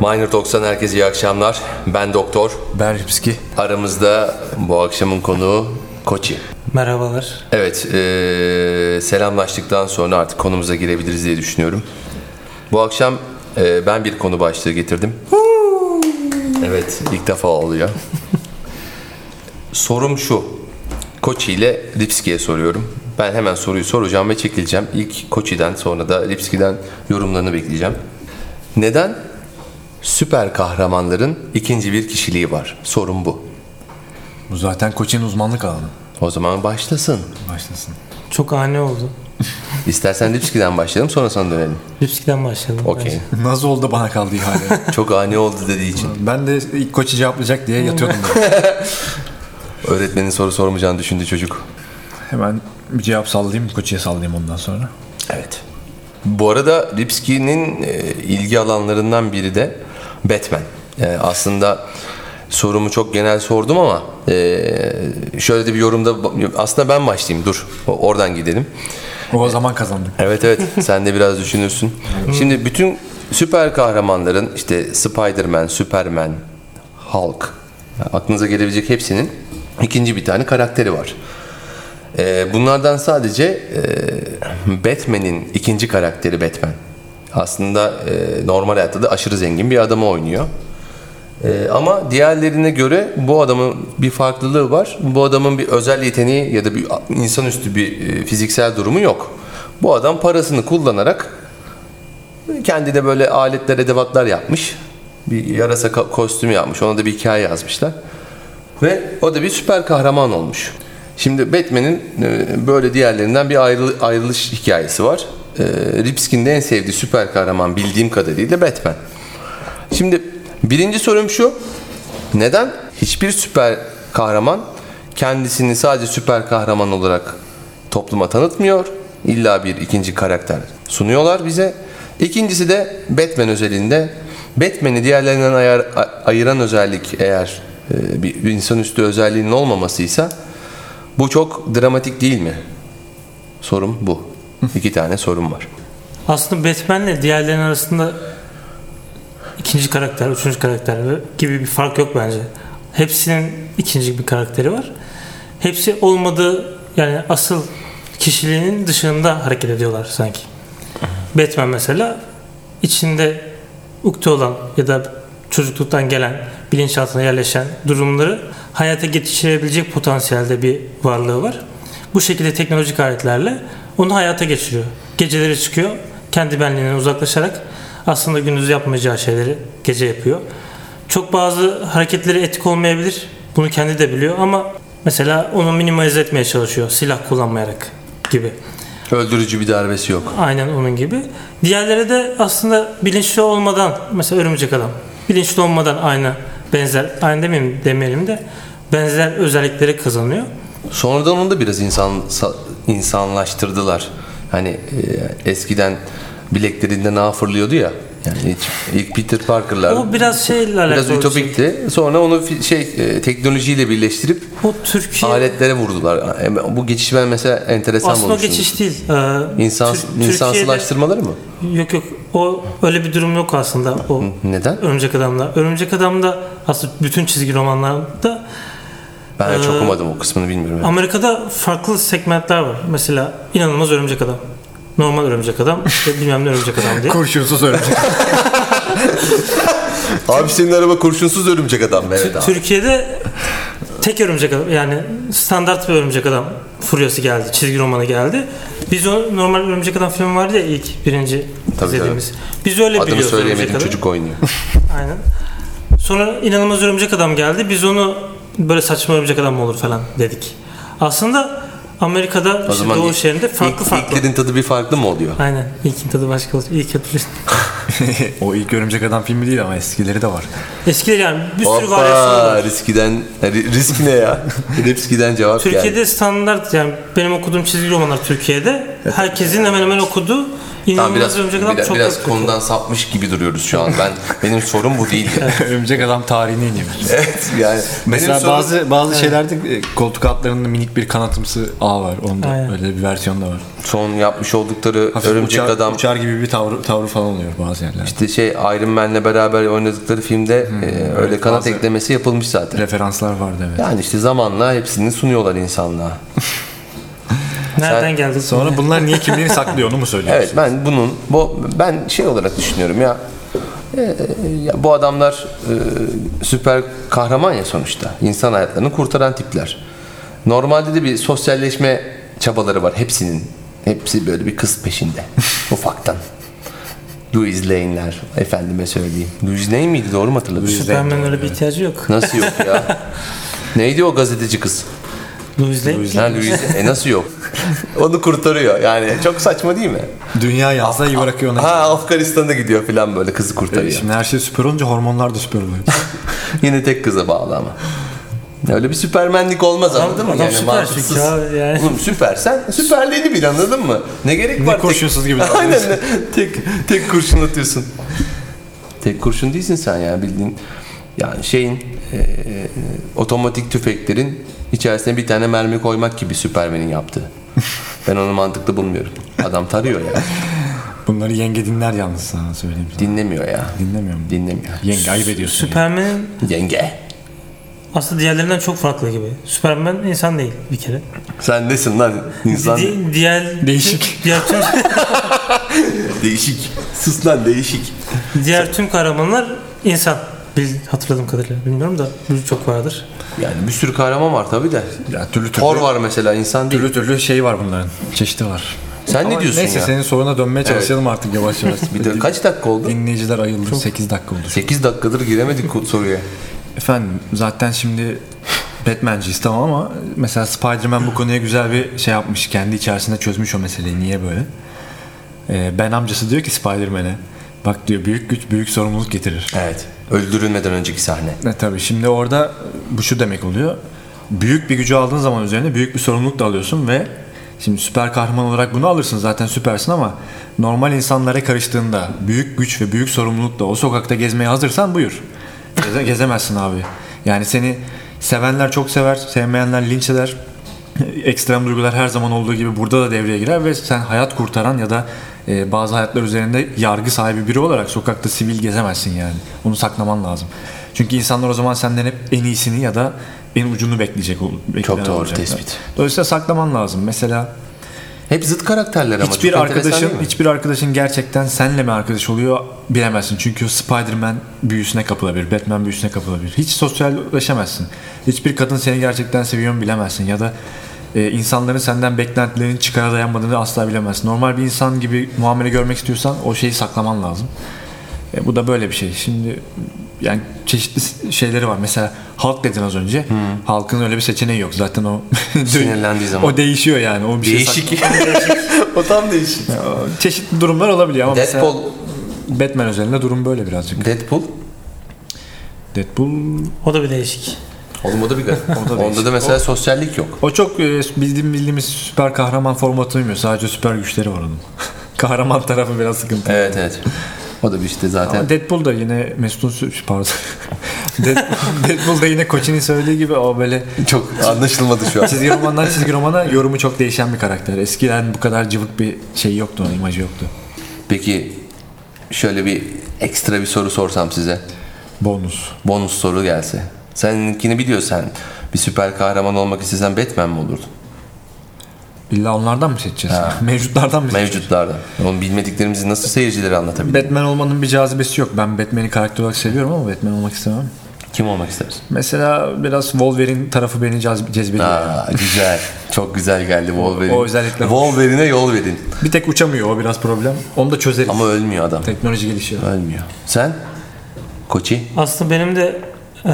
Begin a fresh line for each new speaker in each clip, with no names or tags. Minor Talks'tan herkese iyi akşamlar. Ben Doktor.
Ben Ripski.
Aramızda bu akşamın konuğu Koçi.
Merhabalar.
Evet, eee, selamlaştıktan sonra artık konumuza girebiliriz diye düşünüyorum. Bu akşam eee, ben bir konu başlığı getirdim. Evet, ilk defa oluyor. Sorum şu. Koçi ile Lipski'ye soruyorum. Ben hemen soruyu soracağım ve çekileceğim. İlk Koçi'den sonra da Lipski'den yorumlarını bekleyeceğim. Neden süper kahramanların ikinci bir kişiliği var? Sorum bu.
Bu zaten koçun uzmanlık alanı.
O zaman başlasın.
Başlasın.
Çok ani oldu.
İstersen Lipski'den başlayalım sonra sana dönelim.
Lipski'den başlayalım.
Okey.
bence.
Nasıl oldu bana kaldı ihale.
Çok ani oldu dediği için.
ben de ilk koçu cevaplayacak diye yatıyordum. böyle.
Öğretmenin soru sormayacağını düşündü çocuk.
Hemen bir cevap sallayayım, koçuya sallayayım ondan sonra.
Evet. Bu arada Lipski'nin e, ilgi alanlarından biri de Batman. E, aslında sorumu çok genel sordum ama e, şöyle de bir yorumda aslında ben başlayayım dur O- oradan gidelim.
O zaman kazandık.
Evet evet sen de biraz düşünürsün. Şimdi bütün süper kahramanların işte Spider-Man, Superman, Hulk yani aklınıza gelebilecek hepsinin ikinci bir tane karakteri var. Ee, bunlardan sadece e, Batman'in ikinci karakteri Batman. Aslında e, normal hayatta da aşırı zengin bir adamı oynuyor. Ee, ama diğerlerine göre bu adamın bir farklılığı var. Bu adamın bir özel yeteneği ya da bir insanüstü bir e, fiziksel durumu yok. Bu adam parasını kullanarak kendine böyle aletler, edevatlar yapmış. Bir yarasa ka- kostümü yapmış. Ona da bir hikaye yazmışlar. Ve o da bir süper kahraman olmuş. Şimdi Batman'in e, böyle diğerlerinden bir ayrı- ayrılış hikayesi var. E, Ripkin'in de en sevdiği süper kahraman bildiğim kadarıyla Batman. Şimdi birinci sorum şu. Neden hiçbir süper kahraman kendisini sadece süper kahraman olarak topluma tanıtmıyor? İlla bir ikinci karakter sunuyorlar bize. İkincisi de Batman özelinde. Batman'i diğerlerinden ayar- a- ayıran özellik eğer e, bir bir insanüstü özelliğinin olmamasıysa bu çok dramatik değil mi? Sorum bu. İki tane sorum var.
Aslında Batman'le diğerlerinin arasında ikinci karakter, üçüncü karakter gibi bir fark yok bence. Hepsinin ikinci bir karakteri var. Hepsi olmadığı yani asıl kişiliğinin dışında hareket ediyorlar sanki. Batman mesela içinde ukde olan ya da çocukluktan gelen bilinçaltına yerleşen durumları hayata geçirebilecek potansiyelde bir varlığı var. Bu şekilde teknolojik aletlerle onu hayata geçiriyor. Geceleri çıkıyor, kendi benliğinden uzaklaşarak aslında gündüz yapmayacağı şeyleri gece yapıyor. Çok bazı hareketleri etik olmayabilir. Bunu kendi de biliyor ama mesela onu minimalize etmeye çalışıyor silah kullanmayarak gibi.
Öldürücü bir darbesi yok.
Aynen onun gibi. Diğerleri de aslında bilinçli olmadan mesela örümcek adam bilinçli olmadan aynı benzer aynı demeyeyim demeyelim de benzer özellikleri kazanıyor.
Sonradan onu da biraz insan sa- insanlaştırdılar. Hani e, eskiden bileklerinden ağ fırlıyordu ya. Yani hiç- ilk Peter Parker'lar
O biraz şeyle alakalı.
biraz
bir şey.
ütopikti. Sonra onu fi- şey e, teknolojiyle birleştirip
O Türkiye
aletlere vurdular. E, Bu geçiş ben mesela enteresan
Şey- aslında o
bulmuştum.
geçiş değil. Ee,
İnsan,
Tür-
insansılaştırmaları mı?
Türkiye'de- Yok yok. O öyle bir durum yok aslında. O
Neden?
Örümcek Adam'da. Örümcek Adam'da aslında bütün çizgi romanlarda
Ben hiç
Ee,
okumadım o kısmını bilmiyorum.
Amerika'da farklı segmentler var. Mesela inanılmaz örümcek adam. Normal örümcek adam ve bilmem ne örümcek adam diye.
Kurşunsuz örümcek.
Abi senin araba kurşunsuz örümcek adam Mehmet abi.
Türkiye'de tek örümcek adam yani standart bir örümcek adam furyası geldi. Çizgi romanı geldi. Biz o normal örümcek adam filmi vardı ya ilk birinci
Tabii,
izlediğimiz. Biz öyle
Adını
biliyoruz örümcek
söyleyemedim
adamı.
çocuk oynuyor.
Aynen. Sonra inanılmaz örümcek adam geldi. Biz onu böyle saçma örümcek adam mı olur falan dedik. Aslında Amerika'da
O
işte
zaman
doğu
ilk-
şehrinde farklı
ilk-
farklı.
ilklerin tadı bir farklı mı oluyor?
Aynen. İlkin tadı başka olsun. İlk hatırlıyorsun.
o ilk örümcek adam filmi değil ama eskileri de var.
Eskiler yani bir sürü varyasyonu
Hoppa
var.
riskiden ri- risk ne ya? Riskiden cevap geldi.
Türkiye'de standart yani benim okuduğum çizgi romanlar Türkiye'de herkesin hemen hemen okuduğu
Tamam
İnanılmaz
biraz
Örümcek Adam
biraz,
çok
biraz
kötü.
konudan sapmış gibi duruyoruz şu an. Ben benim sorum bu değil.
Örümcek adam tarihine iniyoruz.
evet yani
Mesela
benim sorum-
bazı bazı şeylerde e, koltuk altlarında minik bir kanatımsı ağ var. Onda
Aynen.
öyle bir versiyon da var.
son yapmış oldukları
Hafif
örümcek
uçar,
adam
uçar gibi bir tavrı, tavrı falan oluyor bazı yerlerde.
işte şey Iron Man'le beraber oynadıkları filmde e, öyle
evet,
kanat
Hmm. bazı-
eklemesi yapılmış zaten.
Referanslar vardı evet.
Yani işte zamanla hepsini sunuyorlar insanlığa.
Nereden geldi?
Sonra bunlar niye kimliğini saklıyor onu mu
Evet
söylüyorsun?
ben bunun bu ben şey olarak düşünüyorum ya, e, ya bu adamlar e, süper kahraman ya sonuçta. İnsan hayatlarını kurtaran tipler. Normalde de bir sosyalleşme çabaları var hepsinin. Hepsi böyle bir kız peşinde. ufaktan. Louis Lane'ler efendime söyleyeyim. Louis Lane miydi doğru mu hatırladım?
Superman öyle bir ihtiyacı yok.
Nasıl yok ya? Neydi o gazeteci kız?
Louis Lane.
Ha, Louis- E nasıl yok? Onu kurtarıyor. Yani çok saçma değil mi?
Dünya yazda iyi bırakıyor ona.
Ha Afganistan'a gidiyor falan böyle kızı kurtarıyor.
Şimdi her şey süper olunca hormonlar da süper oluyor.
Yine tek kıza bağlı ama. Öyle bir süpermenlik olmaz anladın mı?
adam süper
mantıksız.
çünkü abi yani.
Oğlum süpersen süperliğini bil anladın mı? Ne gerek var? tek-
kurşunsuz gibi
Aynen
davranıyorsun.
tek, tek kurşun atıyorsun. Tek kurşun değilsin sen ya bildiğin. Yani şeyin e, e, otomatik tüfeklerin içerisine bir tane mermi koymak gibi Süpermen'in yaptığı. Ben onu mantıklı bulmuyorum. Adam tarıyor ya.
Bunları yenge dinler yalnız sana söyleyeyim. Sana.
Dinlemiyor ya.
Dinlemiyor mu?
Dinlemiyor.
Yenge ayıp ediyorsun. ya.
Superman'in
Yenge.
aslında diğerlerinden çok farklı gibi. Superman insan değil bir kere.
Sen nesin lan insan?
Di- diğer
Değişik.
Diğer tüm
değişik. Sus lan değişik.
diğer tüm kahramanlar insan. Bil, hatırladığım kadarıyla bilmiyorum da bu çok vardır.
Yani bir sürü kahraman var tabi de.
Ya türlü türlü.
Thor var mesela insan değil.
Türlü türlü şey var bunların. Çeşidi var.
Sen ne
Ama
diyorsun
neyse,
ya?
senin soruna dönmeye çalışalım artık yavaş yavaş.
Bir de kaç dakika oldu?
Dinleyiciler ayıldı. 8 dakika oldu.
8 dakikadır giremedik bu soruya.
Efendim zaten şimdi Batman'ciyiz tamam ama mesela Spider-Man bu konuya güzel bir şey yapmış. Kendi içerisinde çözmüş o meseleyi. Niye böyle? Ee, ben amcası diyor ki Spider-Man'e bak diyor büyük güç büyük sorumluluk getirir.
Evet. Öldürülmeden önceki sahne.
E tabii şimdi orada e, bu şu demek oluyor. Büyük bir gücü aldığın zaman üzerine büyük bir sorumluluk da alıyorsun ve şimdi süper kahraman olarak bunu alırsın zaten süpersin ama normal insanlara karıştığında büyük güç ve büyük sorumlulukla o sokakta gezmeye hazırsan buyur. Geze- gezemezsin abi. Yani seni sevenler çok sever, sevmeyenler linç eder. Ekstrem duygular her zaman olduğu gibi burada da devreye girer ve sen hayat kurtaran ya da e, bazı hayatlar üzerinde yargı sahibi biri olarak sokakta sivil gezemezsin yani. Onu saklaman lazım. Çünkü insanlar o zaman senden hep en iyisini ya da en ucunu bekleyecek. ol- bekleyen
doğru
olacaklar.
tespit.
Dolayısıyla saklaman lazım. Mesela
Hep zıt karakterler ama
hiçbir
çok enteresan
arkadaşın
değil mi?
hiçbir arkadaşın gerçekten senle mi arkadaş oluyor bilemezsin. Çünkü o Spider-Man büyüsüne kapılabilir, Batman büyüsüne kapılabilir. Hiç sosyalleşemezsin. Hiçbir kadın seni gerçekten seviyor mu bilemezsin ya da e, insanların senden beklentilerini çıkara dayanmadığını asla bilemezsin. Normal bir insan gibi muamele görmek istiyorsan o şeyi saklaman lazım. E, bu da böyle bir şey. Şimdi yani çeşitli s- şeyleri var. Mesela halk dedin az önce. Halkın öyle bir seçeneği yok. Zaten o
Sinirlendiği zaman.
O değişiyor yani. O bir şey sak-
Değişik. o tam değişik.
çeşitli durumlar olabiliyor ama
Deadpool.
mesela Batman özelinde durum böyle birazcık.
Deadpool.
Deadpool
O da bir değişik.
Oğlum o da bir garip. Onda
değişik.
da mesela sosyallik yok.
o çok e, bildiğim bildiğimiz süper kahraman formatı uymuyor. Sadece süper güçleri var onun. kahraman tarafı biraz sıkıntı.
Evet evet. O da bir işte zaten.
Ama Deadpool da yine Mesut'un sü- pardon. Deadpool, Deadpool da yine Koç'un söylediği gibi o böyle
Çok anlaşılmadı şu an.
çizgi romandan çizgi romana yorumu çok değişen bir karakter. Eskiden bu kadar cıvık bir şey yoktu, onun imajı yoktu.
Peki şöyle bir ekstra bir soru sorsam size.
Bonus.
bonus soru gelse. Seninkini biliyorsan bir süper kahraman olmak istesen Batman mi olurdun?
İlla onlardan mı seçeceğiz? Mevcutlardan mı seçeceğiz?
Mevcutlardan. Onu bilmediklerimizi nasıl seyircilere anlatabilir?
Batman olmanın bir cazibesi yok. Ben Batman'i karakter olarak seviyorum ama Batman olmak istemem.
Kim olmak istersin?
Mesela biraz Wolverine tarafı beni caz- cezbediyor.
Aa, güzel. Çok güzel geldi Wolverine.
O özellikle hoş.
Wolverine'e yol verin.
Bir tek uçamıyor o biraz problem. Onu da çözeriz.
Ama ölmüyor adam.
Teknoloji gelişiyor.
Ölmüyor. Sen? Koçi?
Aslında benim de e,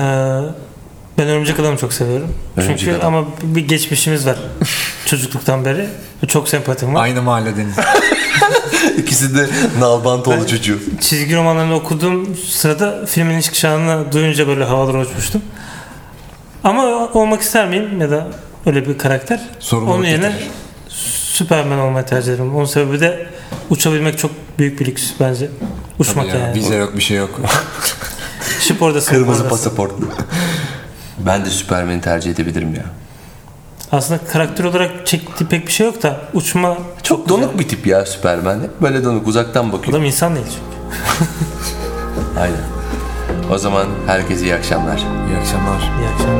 ben Örümcek Adam'ı çok seviyorum.
Örümcek
Çünkü
Adam.
ama bir geçmişimiz var çocukluktan beri. Çok sempatim var.
Aynı mahalleden.
İkisi de nalbantoğlu çocuğu.
Çizgi romanlarını okuduğum sırada filmin ilk şanını duyunca böyle havalara uçmuştum. Ama olmak ister miyim ya da öyle bir karakter?
Sorumluluk
Onun yerine
getirir.
Superman olmayı tercih ederim. Onun sebebi de uçabilmek çok büyük bir lüks bence. Uçmak
Ya,
yani.
Vize yok bir şey yok.
Spordasın.
Kırmızı
oradasın.
pasaport. ben de Süpermen'i tercih edebilirim ya.
Aslında karakter olarak çektiği pek bir şey yok da uçma
Çok donuk bir tip ya Süpermen. Hep böyle donuk uzaktan bakıyor.
adam insan değil çünkü.
Aynen. O zaman herkese iyi akşamlar.
İyi akşamlar.
İyi akşamlar.